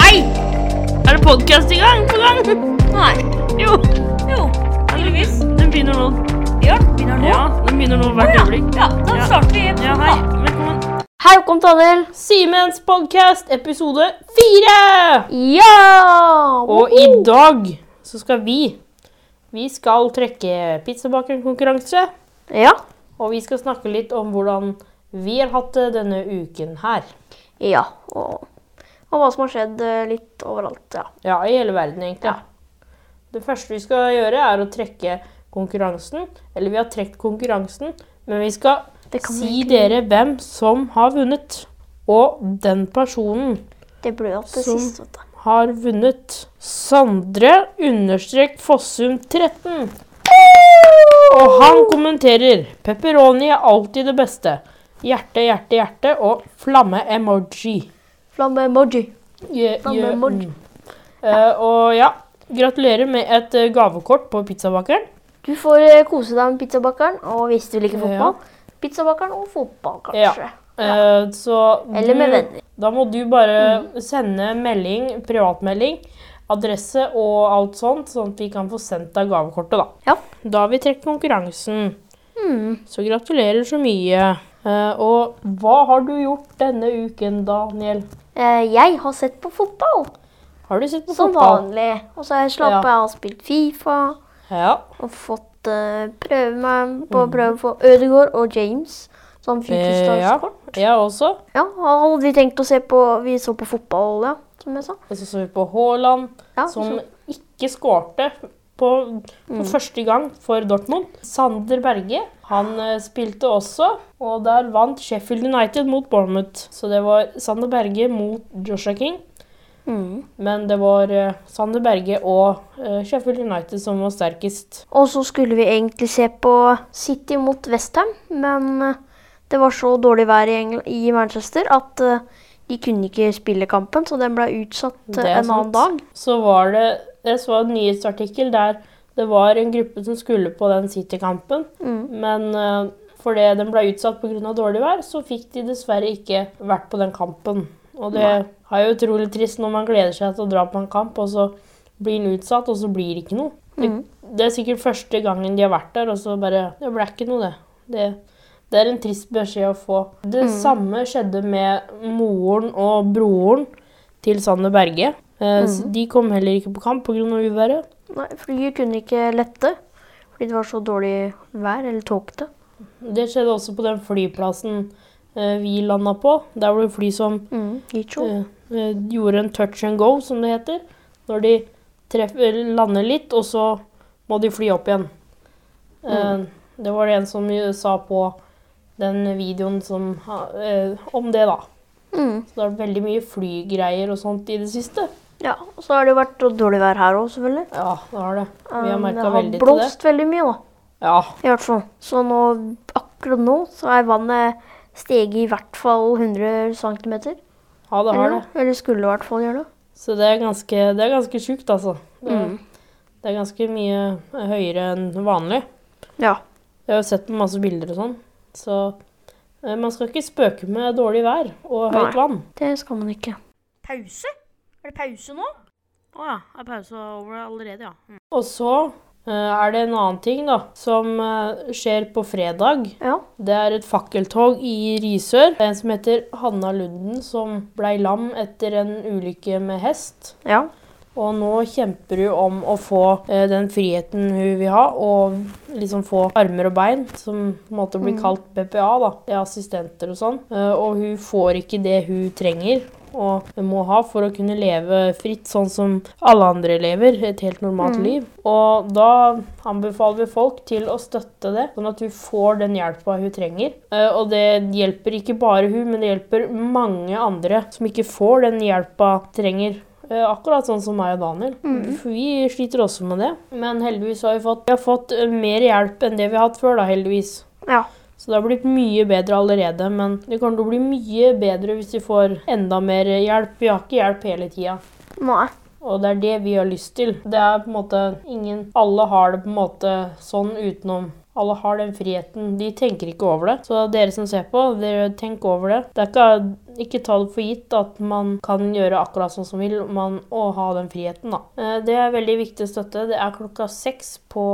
Nei! Er det podkast i gang? På gang? Nei. Jo. Jo, tydeligvis. Den begynner nå. Ja, begynner nå. Ja, den begynner nå hvert øyeblikk. Ja, Ah. da Ja. starter vi. Ja, hei. Velkommen. Hei, velkommen til Daniel. Simens podkast, episode fire! Ja! Og i dag så skal vi Vi skal trekke pizzabakerkonkurranse. Ja. Og vi skal snakke litt om hvordan vi har hatt det denne uken her. Ja. Og, og hva som har skjedd eh, litt overalt. Ja. Ja, i hele verden, egentlig. Det første vi skal gjøre, er å trekke konkurransen. Eller vi har trukket konkurransen, men vi skal Det kan vi si dere hvem som har vunnet. Og den personen Det ble jo det Som- siste. Vet du. har vunnet Sandre understrek Fossum 13. Og han kommenterer Pepperoni er alltid det beste. Hjerte, hjerte, hjerte og flamme-emoji. Flamme-emoji. Gjø- Flamme gjø- emoji. mm. Eh, og ja, gratulerer med et eh, gavekort på pizzabakeren. Du får eh, kose deg med pizzabakeren, og hvis du liker Ja. fotball, pizzabakeren og fotball, kanskje. Eh, så Eller med du- venner. Mm. Da må du bare sende melding, privatmelding, adresse og alt sånt, sånn at vi kan få sendt deg gavekortet, da. Ja. Da har vi trukket konkurransen. Så gratulerer så mye. Eh, og hva har du gjort denne uken, Daniel? Eh, Jeg har sett på fotball, Har du sett på som fotball? vanlig. Og så har jeg slappet Ja. av og spilt Fifa, Ja. og fått eh, prøve meg på å prøve for Ødegaard og James, som fikk Mm. Eh, ja. utslagskort. Jeg også. Ja, hadde vi tenkt å se på Vi så på fotball, ja, som jeg sa. Og så så vi på Haaland, Ja, som så- Mm. ikke skårte på, for første gang for Dortmund. Sander Berge, han eh, spilte også, og der vant Sheffield United mot Bournemouth. Så det var Sander Berge mot Joshua King, men det var eh, Sander Berge og eh, Sheffield United som var sterkest. Og så skulle vi egentlig se på City mot Westham, men eh, det var så dårlig vær i, Engl i Manchester at eh, de kunne ikke spille kampen, så den ble utsatt eh, Det er en annen dag. sant. Så var det Jeg så en nyhetsartikkel der det var en gruppe som skulle på den City-kampen, men eh, fordi den ble utsatt pga. dårlig vær, så fikk de dessverre ikke vært på den kampen. Og det er jo utrolig trist når man gleder seg til å dra på en kamp, og så blir den utsatt, og så blir det ikke noe. Det, det er sikkert første gangen de har vært der, og så bare Det ble ikke noe, det. det det er en trist beskjed å få. Det samme skjedde med moren og broren til Sander Berge. Eh, s- De kom heller ikke på kamp pga. uværet. Nei, Flyet kunne ikke lette fordi det var så dårlig vær, eller tåkete. Det skjedde også på den flyplassen eh, vi landa på. Der var det fly som Mm. Gicho. eh, eh, gjorde en touch and go, som det heter. Når de treffer, lander litt, og så må de fly opp igjen. Eh, det var det en som jo sa på den videoen som, ha- eh, om det, da. Mm. Så det har vært veldig mye flygreier og sånt i det siste. Ja, og så har det vært dårlig vær her òg, selvfølgelig. Ja, det har det. Vi har Um, merka veldig Det har til det. blåst veldig mye, da. Ja, I hvert fall. Så nå, akkurat nå så er vannet steget i hvert fall 100 cm. ja det har Eller, det. eller skulle i hvert fall gjøre det. Mm. Så det er ganske, det er ganske sjukt, altså. Det, det er ganske mye høyere enn vanlig. Ja. Jeg har jo sett på masse bilder og sånn. Så eh, man skal ikke spøke med dårlig vær og Nei. høyt vann. Det skal man ikke. Pause? Er det pause nå? Å ja. Er pausa over allerede, ja. Og så eh, er det en annen ting, da, som eh, skjer på fredag. Ja. Det er et fakkeltog i Risør. Det er En som heter Hanna Lunden, som blei lam etter en ulykke med hest. ja. Og nå kjemper hun om å få eh, den friheten hun vil ha, og liksom få armer og bein, som på en måte blir kalt BPA, da. Det er assistenter og sånn. Eh, og hun får ikke det hun trenger og må ha for å kunne leve fritt, sånn som alle andre lever. Et helt normalt liv. Og da anbefaler vi folk til å støtte det, sånn at hun får den hjelpa hun trenger. Eh, og det hjelper ikke bare hun, men det hjelper mange andre som ikke får den hjelpa de trenger. Eh, Akkurat sånn som meg og Daniel. For vi sliter også med det. Men heldigvis har vi fått, vi har fått eh, mer hjelp enn det vi har hatt før, da, heldigvis. Ja. Så det har blitt mye bedre allerede, men det kommer til å bli mye bedre hvis vi får enda mer hjelp. Vi har ikke hjelp hele tida. Nei. Og det er det vi har lyst til. Det er på en måte ingen Alle har det på en måte sånn utenom Alle har den friheten. De tenker ikke over det. Så dere som ser på, dere tenk over det. Det er ikke, ikke ta det for gitt at man kan gjøre akkurat sånn som vil, man, og ha den friheten, da. Eh, Det er veldig viktig støtte. Det er klokka seks på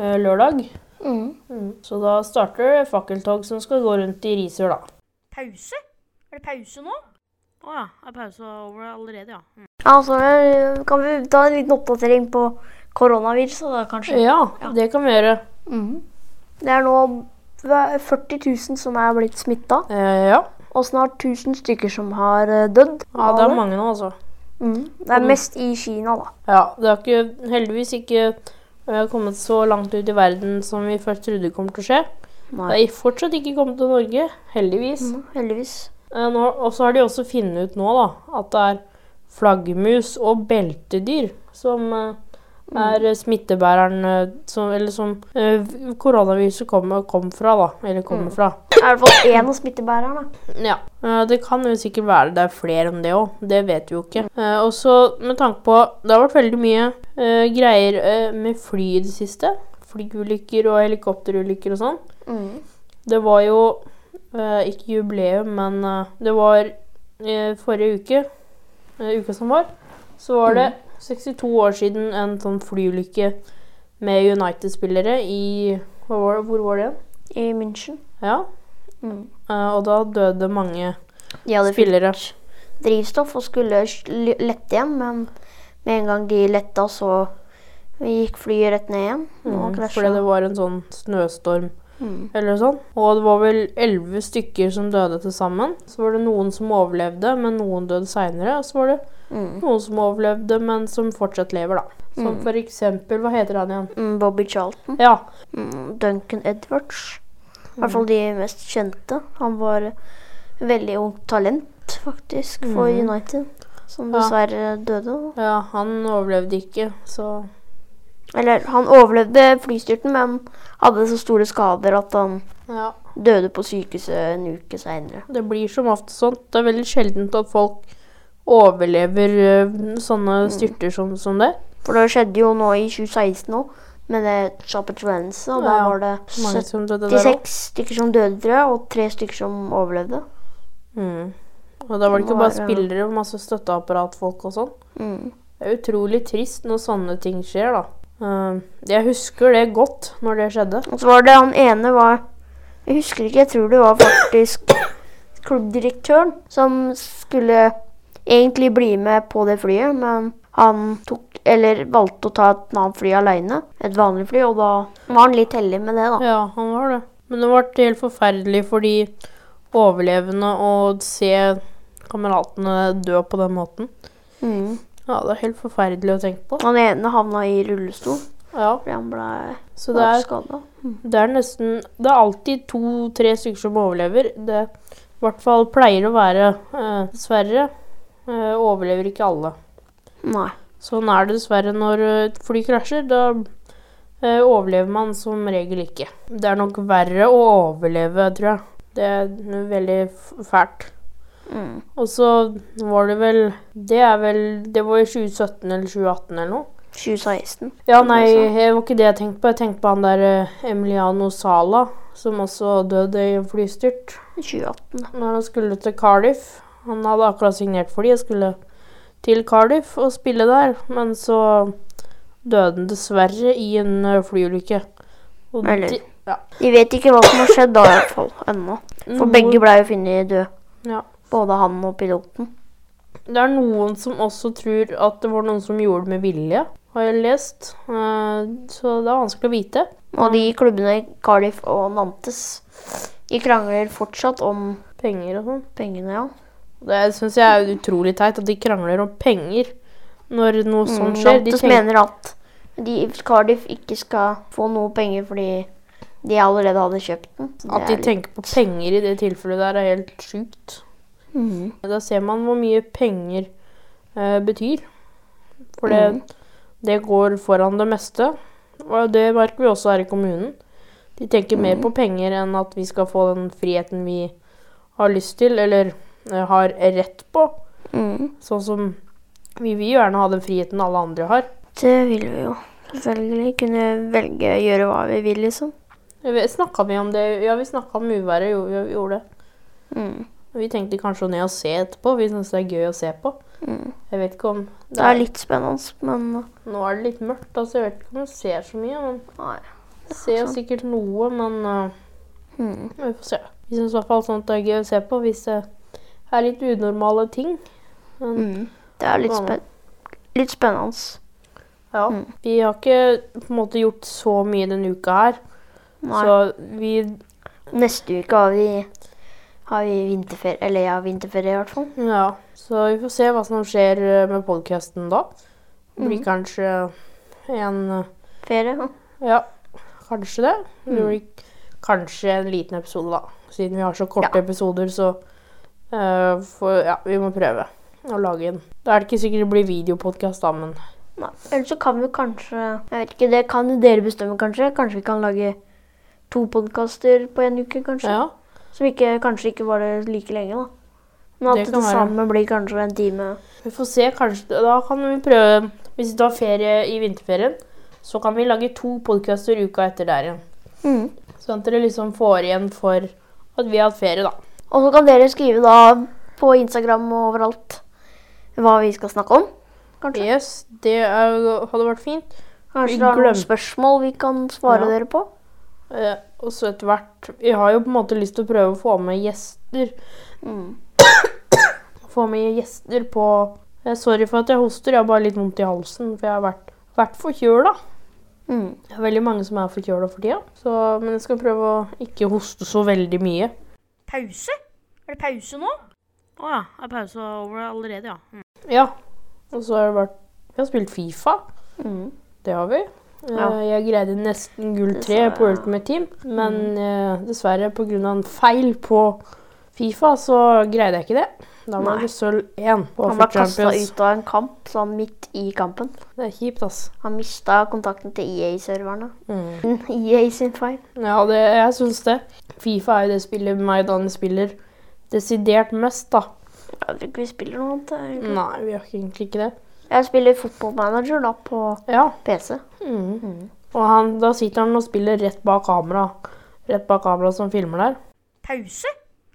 eh, lørdag. Mm. Så da starter det fakkeltog som skal gå rundt i Risør, da. Pause? Er det pause nå? Å ja. Er pausa over allerede, ja. Mm. Ja, så eh, kan vi ta en liten oppdatering på koronaviruset, da, kanskje. Ja, det kan vi gjøre. Mhm. Det er nå hva- 40 000 som er blitt smitta, Eh, ja. og snart 1000 stykker som har eh, dødd. ja, av det er mange nå, altså. Mhm. det er mest i Kina, da. Ja, det har ikke, heldigvis ikke eh, kommet så langt ut i verden som vi først trodde kom til å skje. Det Nei. er fortsatt ikke kommet til Norge, heldigvis. Mhm, heldigvis. Eh, nå- Og så har de også funnet ut nå da, at det er flaggermus og beltedyr som eh, er eh, smittebæreren eh, som, eller som eh, v- koronaviruset kom, kom fra. da, Eller kommer fra. Det er i hvert fall én av smittebærerne. Ja, eh, det kan jo sikkert være det er flere enn det òg. Det vet vi jo ikke. Eh, Og så med tanke på Det har vært veldig mye eh, greier eh, med fly i det siste. Flyulykker og helikopterulykker og sånn. Mhm. Det var jo eh, ikke jubileum, men eh, det var eh, forrige uke, eh, uka som var, så var det 62 år siden en sånn flyulykke med United-spillere i hva var det, Hvor var det igjen? I München. Ja. Mhm. eh, og da døde mange De hadde fylt spillere. drivstoff og skulle sl- lette igjen, men med en gang de letta, så gikk flyet rett ned igjen. Og Mm, fordi krasja. det var en sånn snøstorm Mm. eller sånn. Og det var vel elleve stykker som døde til sammen. Så var det noen som overlevde, men noen døde seinere. Og så var det Mm. noen som overlevde, men som fortsatt lever, da. Som for eksempel Hva heter han igjen? Mm, Bobby Charlton. Ja. Mm, Duncan Edwards. I Mm. hvert fall de mest kjente. Han var veldig ungt talent, faktisk, for Mm. United. Som Ja. dessverre døde. ja. Han overlevde ikke, så Eller, han overlevde flystyrten, men hadde så store skader at han ja. døde på sykehuset en uke seinere. Det blir som ofte sånt. Det er veldig sjeldent at folk overlever ø, sånne Mm. styrter som, som det. For det skjedde jo nå i 2016 òg, med det Chopper Trance, og da Ja, var det Mange som døde der også. 76 stykker som døde, tror jeg, og tre stykker som overlevde. Mm. Og da var det Det ikke må bare være- spillere, men masse støtteapparatfolk og sånn. Mm. Det er utrolig trist når sånne ting skjer, da. Eh, Jeg husker det godt når det skjedde. Og så var det han ene var Jeg husker ikke, jeg tror det var faktisk klubbdirektøren som skulle egentlig bli med på det flyet, men han tok Eller valgte å ta et annet fly aleine, et vanlig fly, og da var han litt heldig med det, da. Ja, han var det. Men det ble helt forferdelig for de overlevende å se kameratene dø på den måten. Mm. Ja, det er helt forferdelig å tenke på. Han ene havna i rullestol Ja, fordi han ble så det er, skada. det er nesten Det er alltid to-tre stykker som overlever. Det i hvert fall pleier å være eh, Dessverre eh, overlever ikke alle. Nei. Sånn er det dessverre når ø, et fly krasjer. Da ø, overlever man som regel ikke. Det er nok verre å overleve, tror jeg. Det er n- veldig f- fælt. Mm. Og så var det vel Det er vel Det var i 2017 eller 2018 eller noe. 2016. Ja, nei, det var ikke det jeg tenkte på. Jeg tenkte på han der ø, Emiliano Sala, som også døde i en flystyrt 2018. når han skulle til Cardiff. Han hadde akkurat signert for de og skulle til Cardiff og spille der, men så døde han dessverre i en ø, flyulykke. Og Eller- de- ja. Vi vet ikke hva som har skjedd da, i hvert fall, ennå. For Noen- begge ble jo funnet døde. Mm. Ja. Både han og piloten. Det er noen som også tror at det var noen som gjorde det med vilje, har jeg lest. Eh, Så det er vanskelig å vite. Og de klubbene Cardiff og Nantes de krangler fortsatt om Penger og sånn. pengene, ja. Det syns jeg er utrolig teit at de krangler om penger når noe sånt Mm, skjer. De Nantes tenker, mener at de, Cardiff ikke skal få noe penger fordi de allerede hadde kjøpt den. Så det at de er litt- tenker på penger i det tilfellet der, er helt sjukt. Mhm. Da ser man hvor mye penger eh, betyr. For det, Mm. det går foran det meste. Og det merker vi også her i kommunen. De tenker Mm. mer på penger enn at vi skal få den friheten vi har lyst til, eller eh, har rett på. Mhm. Sånn som vi vil gjerne ha den friheten alle andre har. Det vil vi jo selvfølgelig kunne velge å gjøre hva vi vil, liksom. Snakka vi om det? Ja, vi snakka om uværet. Jo, vi gjorde det. Mm. Vi tenkte kanskje å ned og se etterpå. Vi syns det er gøy å se på. Mm. Jeg vet ikke om Det er litt spennende, men Nå er det litt mørkt, altså. Jeg vet ikke om du ser så mye. men Nei. Jeg ser jo sikkert noe, men øh, Mm. vi får se. Vi syns i hvert fall sånt er gøy å se på hvis det er litt unormale ting. Mm. Det er litt, spen litt spennende. Ja. Mm. Vi har ikke på en måte gjort så mye denne uka her, Nei. så vi Neste uke har vi, har vi vinterferie. Eller jeg har vinterferie, i hvert fall. Ja. Så vi får se hva som skjer øh, med podkasten da. Det Mm. blir kanskje en øh, Ferie. ja. Ja, kanskje det. Det Mm. blir kanskje en liten episode, da. Siden vi har så korte Ja. episoder, så eh, får- Ja, vi må prøve å lage en. Da er det ikke sikkert det blir videopodkast, da, men Nei. Eller så kan vi kanskje Jeg vet ikke, det kan jo dere bestemme, kanskje. Kanskje vi kan lage to podkaster på en uke, kanskje. ja. Som ikke, kanskje ikke varer like lenge, da. Men Det at det, kan være. samme blir kanskje en time. Vi får se, kanskje Da kan vi prøve Hvis du har ferie i vinterferien, så kan vi lage to podkaster uka etter der igjen. Mm. Sånn at dere liksom får igjen for at vi har hatt ferie, da. Og så kan dere skrive da på Instagram og overalt hva vi skal snakke om. Kanskje, Yes, det er, hadde vært fint. kanskje vi det er noen glemte- spørsmål vi kan svare Ja. dere på. Eh, og så etter hvert Vi har jo på en måte lyst til å prøve å få med gjester. Mm. Få med gjester på eh, Sorry for at jeg hoster, jeg har bare litt vondt i halsen. For jeg har vært, vært forkjøla. Mm. Det er veldig mange som er forkjøla for tida. Så, men jeg skal prøve å ikke hoste så veldig mye. Pause? Er det pause nå? Å ja. Er pausa over allerede, ja. Mm. Ja. Og så har det vært Vi har spilt Fifa. Mm. Det har vi. Eh, Ja. Jeg greide nesten gull tre Dessverre. på Ultimate Team, men Mm. eh, dessverre pga. en feil på Fifa, så greide jeg ikke det. Da var Nei. det sølv én. på Han Offer ble kasta Champions. ut av en kamp sånn midt i kampen. Det er kjipt, ass. Han mista kontakten til E EA-serverne. Mm. EA E sin feil. Ja, det, jeg syns det. Fifa er jo det spillet Maidan spiller desidert mest, da. Jeg tror ikke vi spiller noe annet. egentlig. Nei, vi har ikke- egentlig ikke det. Jeg spiller fotballmanager da på Ja. PC. Mm. Og han, da sitter han og spiller rett bak kamera. Rett bak kamera som filmer der. Pause?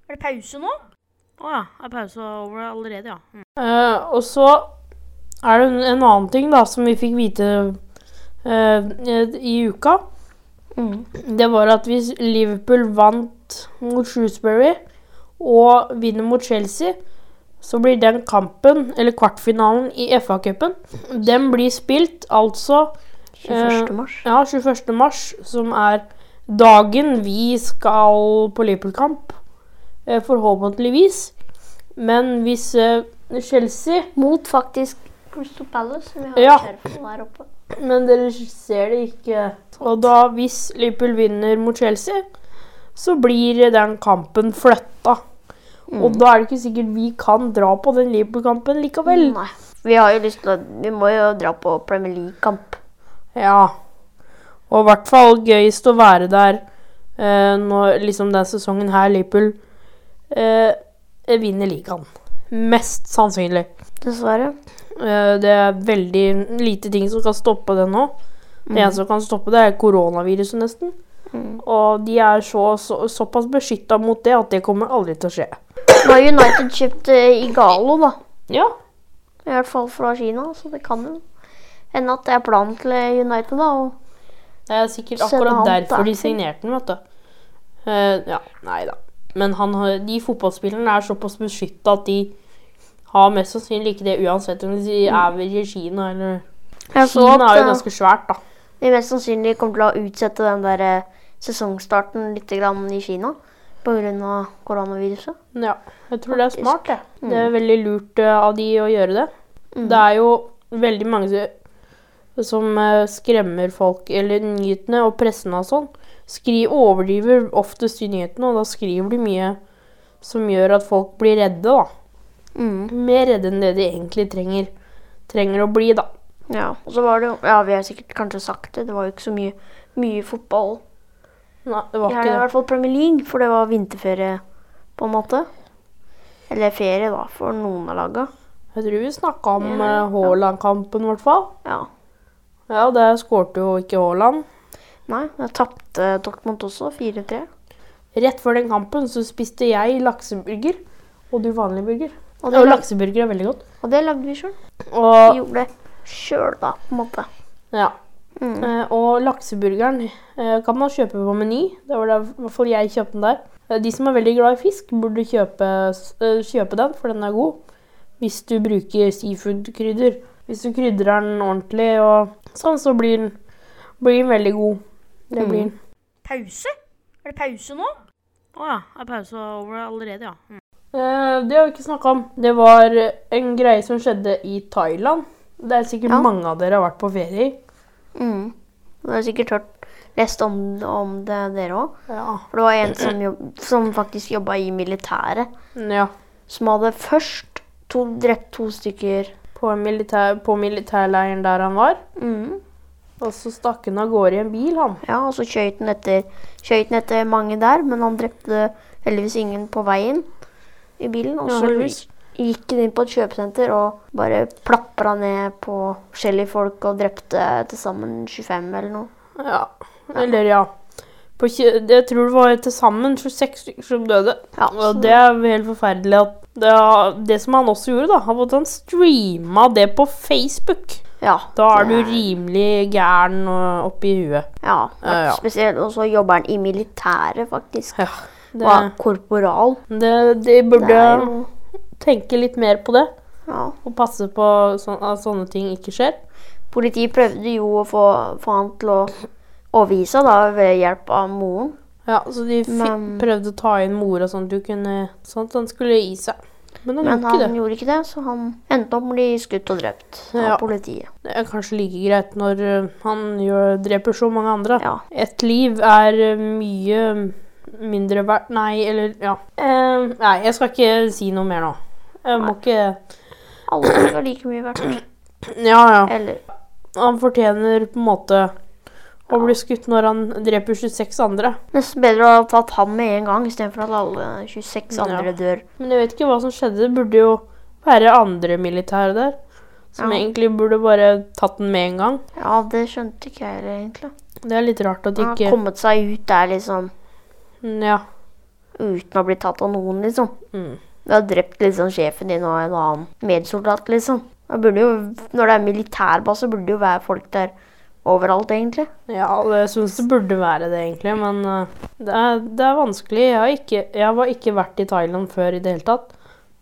Er det pause nå? Å ja. Er pausa over allerede, ja. Mm. Eh, og så er det en, en annen ting da, som vi fikk vite eh, i uka. Mm. Det var at hvis Liverpool vant mot Shrewsbury og vinner mot Chelsea, så blir den kampen, eller kvartfinalen i FA-cupen, den blir spilt altså 21. Eh, mars. ja, 21. mars, som er dagen vi skal på Liverpool-kamp. eh, Forhåpentligvis. Men hvis eh, Chelsea Mot faktisk Crystal Palace, som vi har Ja. i Sheriffen der oppe. Men dere ser det ikke. Og da, hvis Liverpool vinner mot Chelsea, så blir den kampen flytta. Og da er det ikke sikkert vi kan dra på den Liverpool-kampen likevel. Nei. Vi har jo lyst til å Vi må jo dra på Premier League-kamp. Ja. Og i hvert fall gøyest å være der eh, når liksom den sesongen her Liverpool eh, vinner ligaen. Mest sannsynlig. Dessverre. Eh, det er veldig lite ting som kan stoppe det nå. Det eneste som kan stoppe det, er koronaviruset, nesten. Mm. Og de er så, så, såpass beskytta mot det at det kommer aldri til å skje. Nå har United kjøpt eh, Igalo, da. Ja. I hvert fall fra Kina, så det kan jo hende at det er planen til eh, United, da. Og Det er sikkert Send akkurat han derfor de dertil. signerte den, vet du. Eh, ja, nei da. Men han har, de fotballspillerne er såpass beskytta at de har mest sannsynlig ikke det uansett om de er i Kina eller jeg så Kina at er jo eh, ganske svært, da. de mest sannsynlig kommer til å utsette den der eh, sesongstarten litt grann i Kina pga. koronaviruset. Ja, jeg tror det er Faktisk. Mm. smart. Det, det er veldig lurt eh, av de å gjøre det. Det er jo veldig mange som- som eh, skremmer folk, eller nyhetene og pressen og sånn. Skri, overdriver oftest i nyhetene, og da skriver de mye som gjør at folk blir redde, da. Mm. Mer redde enn det de egentlig trenger, trenger å bli, da. Ja. Og så var det jo Ja, vi har sikkert kanskje sagt det, det var jo ikke så mye, mye fotball. Nei, det var I helga, i ikke det. hvert fall Premier League, for det var vinterferie, på en måte. Eller ferie, da, for noen av laga. Jeg tror vi snakka om Ja, ja. eh, Haaland-kampen, i hvert fall. Ja. Ja, der skårte jo ikke Haaland. Nei, da tapte Dortmund også 4-3. Rett før den kampen så spiste jeg lakseburger, og du vanlig burger. Og det, Og lag, lakseburger er veldig godt. og det lagde vi sjøl. Vi Og, gjorde det sjøl, da, på en måte. ja. Mm. Eh, og lakseburgeren eh, kan man kjøpe på Meny. Det var der, i hvert fall jeg kjøpte den der. Eh, De som er veldig glad i fisk, burde kjøpe, s- eh, kjøpe den, for den er god. Hvis du bruker seafood-krydder. Hvis du krydrer den ordentlig, og sånn, så blir den, blir den veldig god. Det Mm. blir den. Pause? Er det pause nå? Å ja. Er pausa over allerede, ja? Mm. Eh, det har vi ikke snakka om. Det var en greie som skjedde i Thailand. Det er sikkert Ja. mange av dere har vært på ferie i. Mm. Du har sikkert hørt, lest om, om det, dere òg. Ja. For det var en som, jobb, som faktisk jobba i militæret, Mm, ja. som hadde først to, drept to stykker. På, militær, på militærleiren der han var. Mm. Og så stakk han av gårde i en bil, han. Ja, og så skjøt han etter, skjøt han etter mange der, men han drepte heldigvis ingen på veien i bilen. Og Ja, så heldigvis. gikk han inn på et kjøpesenter og bare plapra ned på forskjellige folk og drepte til sammen 25 eller noe. Ja. Eller, ja. På, kje- det- jeg tror det var til sammen 26 stykker som døde. Ja, Og det er jo helt forferdelig at det, det som han også gjorde, da, han måtte han streama det på Facebook. ja, Da er du det- rimelig gæren øh, oppi huet. Ja, Ja, ja. spesielt. Og så jobber han i militæret, faktisk. Ja. Og er Det, korporal. det, de Det er burde jo tenke litt mer på det. ja. Og passe på sånn, at sånne ting ikke skjer. Politiet prøvde jo å få, få han til å overgi seg da, ved hjelp av moren. Ja, Så de fi- Men- prøvde å ta inn mora sånn at du kunne Sånn at han skulle gi seg. Men han Men gjorde ikke han det. gjorde ikke det, så han endte opp med å bli skutt og drept av Ja. politiet. Det er kanskje like greit når øh, han gjør, dreper så mange andre. Ja. Et liv er øh, mye mindre verdt Nei, eller ja. Eh, nei, jeg skal ikke si noe mer nå. Jeg må ikke Alle folk er like mye verdt. Ja, ja. Eller Han fortjener på en måte å bli skutt når han dreper 26 andre. nesten bedre å ha tatt han med en gang, istedenfor at alle 26 andre Ja. dør. Men jeg vet ikke hva som skjedde. Det burde jo være andre militære der. Som Ja. egentlig burde bare tatt den med en gang. Ja, det skjønte ikke jeg heller, egentlig. Det er litt rart at de Han har ikke Mm, kommet seg ut der liksom Ja. uten å bli tatt av noen, liksom. Mm. Du har drept liksom sjefen din og en annen medsoldat, liksom. Da burde jo, når det er militærbase, burde det jo være folk der overalt, egentlig. Ja, det- jeg syns det burde være det, egentlig, men eh, det er, det er vanskelig. Jeg, har ikke, jeg var ikke vært i Thailand før i det hele tatt.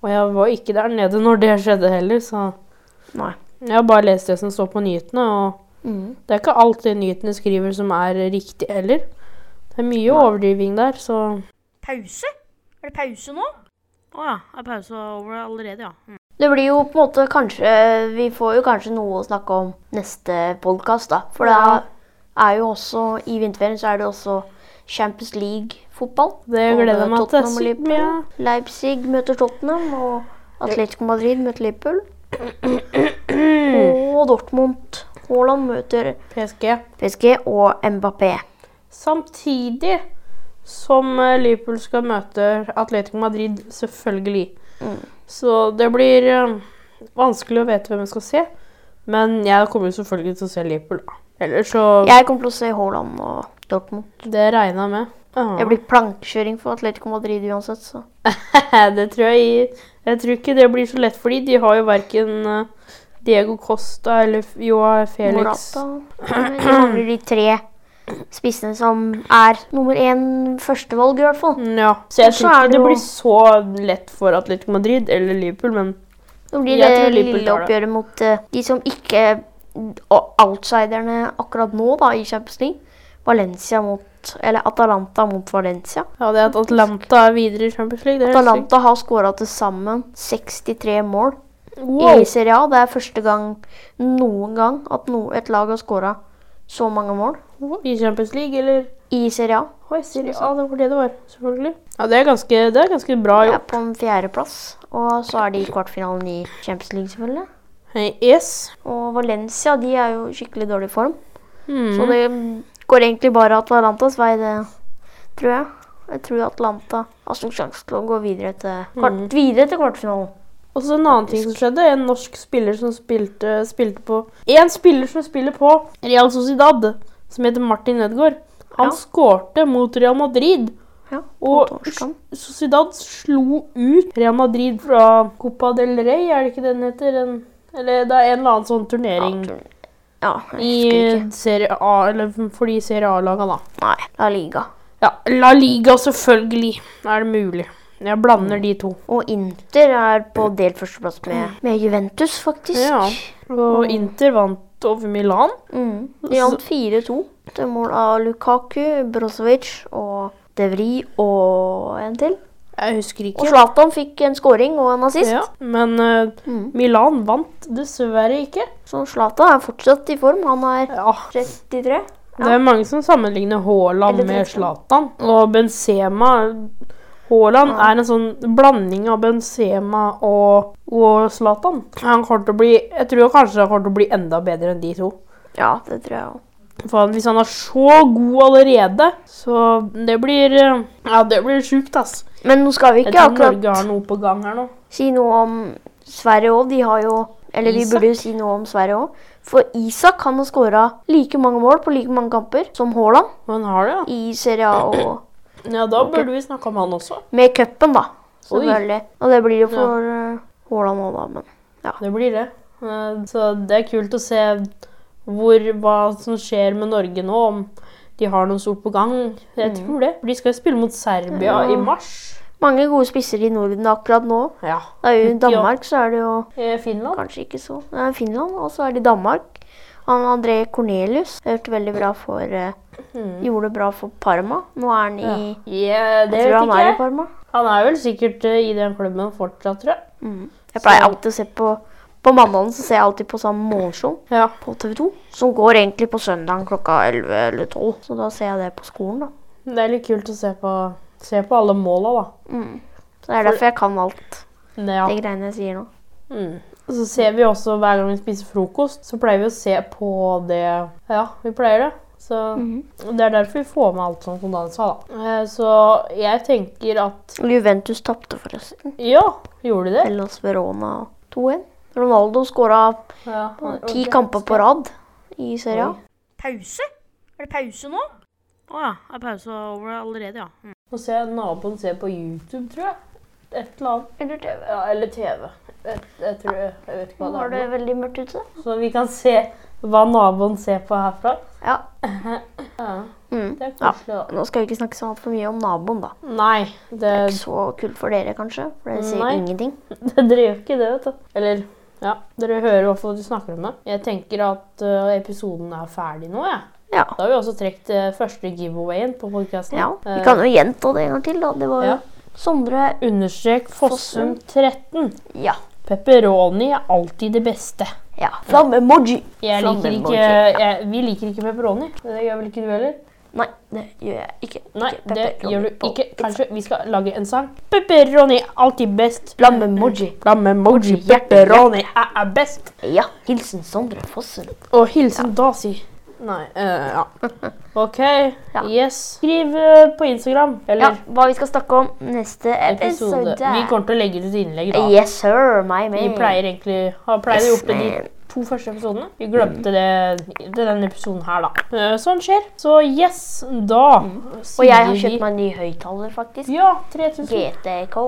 Og jeg var ikke der nede når det skjedde heller, så Nei. jeg har bare lest det som står på nyhetene. Og Mm. det er ikke alltid nyhetene skriver som er riktig heller. Det er mye overdriving der, så Pause? Er det pause nå? Å ja. Er pausa over allerede, ja? Mm. Det blir jo på en måte kanskje Vi får jo kanskje noe å snakke om neste podkast, da. For det Ja. er, er jo også I vinterferien så er det også Champions League-fotball. det Både gleder jeg meg til. Tottenham og Sykt mye. Liverpool. Leipzig møter Tottenham, og Atletico Madrid møter Liverpool. Og Dortmund. Haaland møter PSG. PSG og Mbappé. Samtidig som eh, Liverpool skal møte Atletico Madrid, selvfølgelig. Mm. Så det blir eh, vanskelig å vite hvem jeg skal se. Men jeg kommer jo selvfølgelig til å se Liverpool. da. Ellers så Jeg kommer til å se Haaland og Dortmund. Det regner jeg med. Ah. Det blir plankekjøring for Atletico Madrid uansett, så det tror jeg Jeg tror ikke det blir så lett for dem. De har jo verken eh, Diego Costa eller F- Joa Felix. Morata De mangler de tre spissene som er nummer én førstevalg, i hvert fall. Ja. Så jeg Så tror er ikke det det jo- blir så lett for Atletico Madrid eller Liverpool, men Det blir Jeg det tror Liverpool lille tar det. oppgjøret mot eh, de som ikke og Outsiderne akkurat nå da, i Champions League. Valencia mot Eller Atalanta mot Valencia. ja, det at Atlanta er videre i Champions League, det er helt sykt. Atalanta har skåra til sammen 63 mål Wow. i Serie A. Det er første gang noen gang at no, et lag har skåra så mange mål I Champions League, eller? i Serie A. Oi, Siri. Ja, det var det det var. Selvfølgelig. Ja, det er ganske, det er ganske bra De er gjort. på en fjerdeplass, og så er de i kvartfinalen i Champions League, selvfølgelig. Hey, yes. Og Valencia de er jo i skikkelig dårlig form. Mm. Så det går egentlig bare Atalantas vei, det tror jeg. Jeg tror Atlanta har stor sjanse til å gå videre til, kvart, Mhm. videre til kvartfinalen. Og så en annen ting som skjedde. En norsk spiller som spilte, spilte på En spiller som spiller på Real Sociedad, som heter Martin Ødegaard. Han Ja. skårte mot Real Madrid. Ja, på Og torsdag. Sociedad slo ut Real Madrid fra Copa del Rey, er det ikke den heter? En, eller det er en eller annen sånn turnering Ja, jeg husker i ikke. Serie A, eller for de Serie A-lagene, da. Nei, La Liga. Ja, La Liga, selvfølgelig. Er det mulig? Jeg Mm. blander de to. Og Inter er på delt førsteplass med, med Juventus, faktisk. Ja. Og Inter vant over Milan. Mm. De vant 4-2 til mål av Lukaku, Brozovic og De Vries og en til. Jeg husker Og ikke. Zlatan fikk en scoring og en assist. Ja, men eh, Mm. Milan vant dessverre ikke. Så Zlatan er fortsatt i form. Han er Ja, 33. Det er mange som sammenligner Haaland Eller med Benzema. Zlatan. Og Benzema Haaland er en sånn blanding av Benzema og, og Zlatan. Han kommer til å bli Jeg tror kanskje han kommer til å bli enda bedre enn de to. Ja, det tror jeg òg. For han- hvis han er så god allerede, så det blir eh, Ja, det blir sjukt, ass. Men nå skal vi Jeg ikke tror akkurat Norge har noe på gang her nå. si noe om Sverige òg. De har jo Eller vi Isak. burde jo si noe om Sverige òg. For Isak kan ha skåra like mange mål på like mange kamper som Haaland Men han har det, i Serie A og ja. Ja, da burde vi snakke om han også. med cupen, da. Oi. Selvfølgelig. Og det blir jo for eh, Haaland òg, da. Men Det blir det. Eh, Så det er kult å se hvor, hva som skjer med Norge nå, om de har noe stort på gang. Jeg tror det. For De skal jo spille mot Serbia Mm. Ja. i mars. mange gode spisser i Norden akkurat nå. Ja. Det er jo I Ja. Danmark så er det jo Eh, Finland. kanskje ikke så Det er Finland, og så er det Danmark. Han André Cornelius har gjort veldig bra for eh, Mm. Gjorde det bra for Parma. Nå er han i Ja, det Jeg tror vet han ikke er i jeg. Parma. Han er vel sikkert eh, i den klubben fortsatt, tror jeg. Mm. Jeg pleier alltid å se på På mandagen så ser jeg alltid på samme morgenshow Ja. på TV2. Som går egentlig på søndag klokka 11 eller 12. Så da ser jeg det på skolen, da. Det er litt kult å se på, se på alle måla, da. Mm. Så det er derfor jeg kan alt Det, ja. de greiene jeg sier nå. Mm. Og Så ser vi også hver gang vi spiser frokost, så pleier vi å se på det Ja, vi pleier det. Så Mhm. Det er derfor vi får med alt sånn som Dan sa, da. Eh, Så jeg tenker at Juventus tapte, forresten. Ja, gjorde de det? Hellas Verona 2-1. Ronaldo skåra Ja. ti kamper på rad i serien. Pause? Er det pause nå? Å ja. Er pausa over allerede, ja. Mm. Nå ser jeg naboen ser på YouTube, tror jeg. Et eller annet. Eller TV. Ja, eller TV. Jeg, jeg tror jeg, jeg vet ikke Nå hva var det det er. veldig mørkt ute. Så vi kan se hva naboen ser på herfra. Ja. Ja, Mm. det er Ja. koselig, da. Nå skal vi ikke snakke så altfor mye om naboen, da. Nei, det, Ikke så kult for dere, kanskje. For dere sier Eh, Nei. ingenting. Dere gjør ikke det, vet du. Eller ja, dere hører i hvert fall at du snakker om det. Jeg tenker at ø, episoden er ferdig nå, jeg. Ja. Da har vi også trukket ø, første giveawayen på podkasten. Ja, Vi kan jo gjenta det en gang til. da. Det var jo Eh. Ja. Sondre Eh, Understrek Fossum 13. Ja. Pepperoni er alltid det beste. ja. Flammemoji. Jeg Sånn, liker ikke, Flammemoji. jeg, vi liker ikke pepperoni. Det gjør vel ikke du heller? Nei, det gjør jeg ikke. Nei, Ikke det pepperoni gjør du på ikke. pizza. Kanskje vi skal lage en sang? Pepperoni er alltid best. Flammemoji. Flammemoji, pepperoni er er best. Ja. Hilsen Sondre Fossum. Og hilsen Dasi. Nei, eh, ja. OK. Ja. Yes. Skriv eh, på Instagram. Eller Ja, hva vi skal snakke om neste episode. episode. Vi kommer til å legge ut innlegg da. Yes, sir, my man. Vi pleier egentlig har pleid å Yes, gjort det de man. to første episodene. Vi glemte det i denne episoden her, da. Eh, Sånn skjer. Så yes, da Mm. Og jeg har kjøpt meg en ny høyttaler, faktisk. Ja, 3000. GTK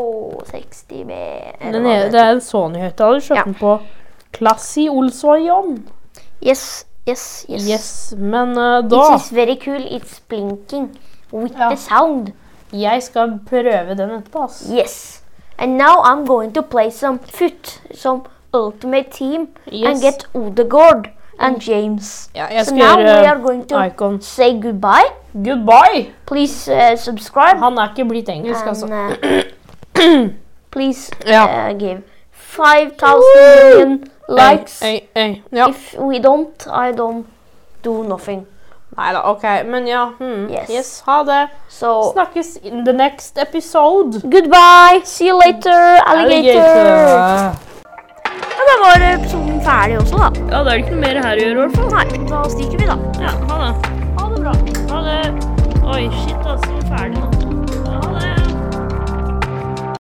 60B. eller Den hva er, det det heter. er en Sony-høyttaler. Kjøpt Ja. den på Klassi Olsvajon. Yes, yes, yes. Yes, men eh, da It is very cool. It's blinking with Ja. the sound. Jeg skal prøve den etterpå, ass. Yes. And now I'm going to play some foot, some ultimate team, Yes. and get Odegaard and James. Ja, jeg so skal now gjøre we are going to Icon. say goodbye. Goodbye! Please uh, subscribe Han er ikke blitt engelsk, altså. and uh, please Ja. uh, give 5,000 million likes. Øy, øy, øy. Ja. If we don't, I don't do nothing. Nei da, OK. Men ja. hmm, Yes. yes. Ha det. So Snakkes in the next episode. goodbye. See you later, alligator. Ja, da var episoden ferdig også, da. Ja, det er ikke noe mer her å gjøre, i hvert fall. Nei, da stikker vi, da. Ja, ha det. Ha det bra. Ha det. Oi, shit, altså. Ferdig nå.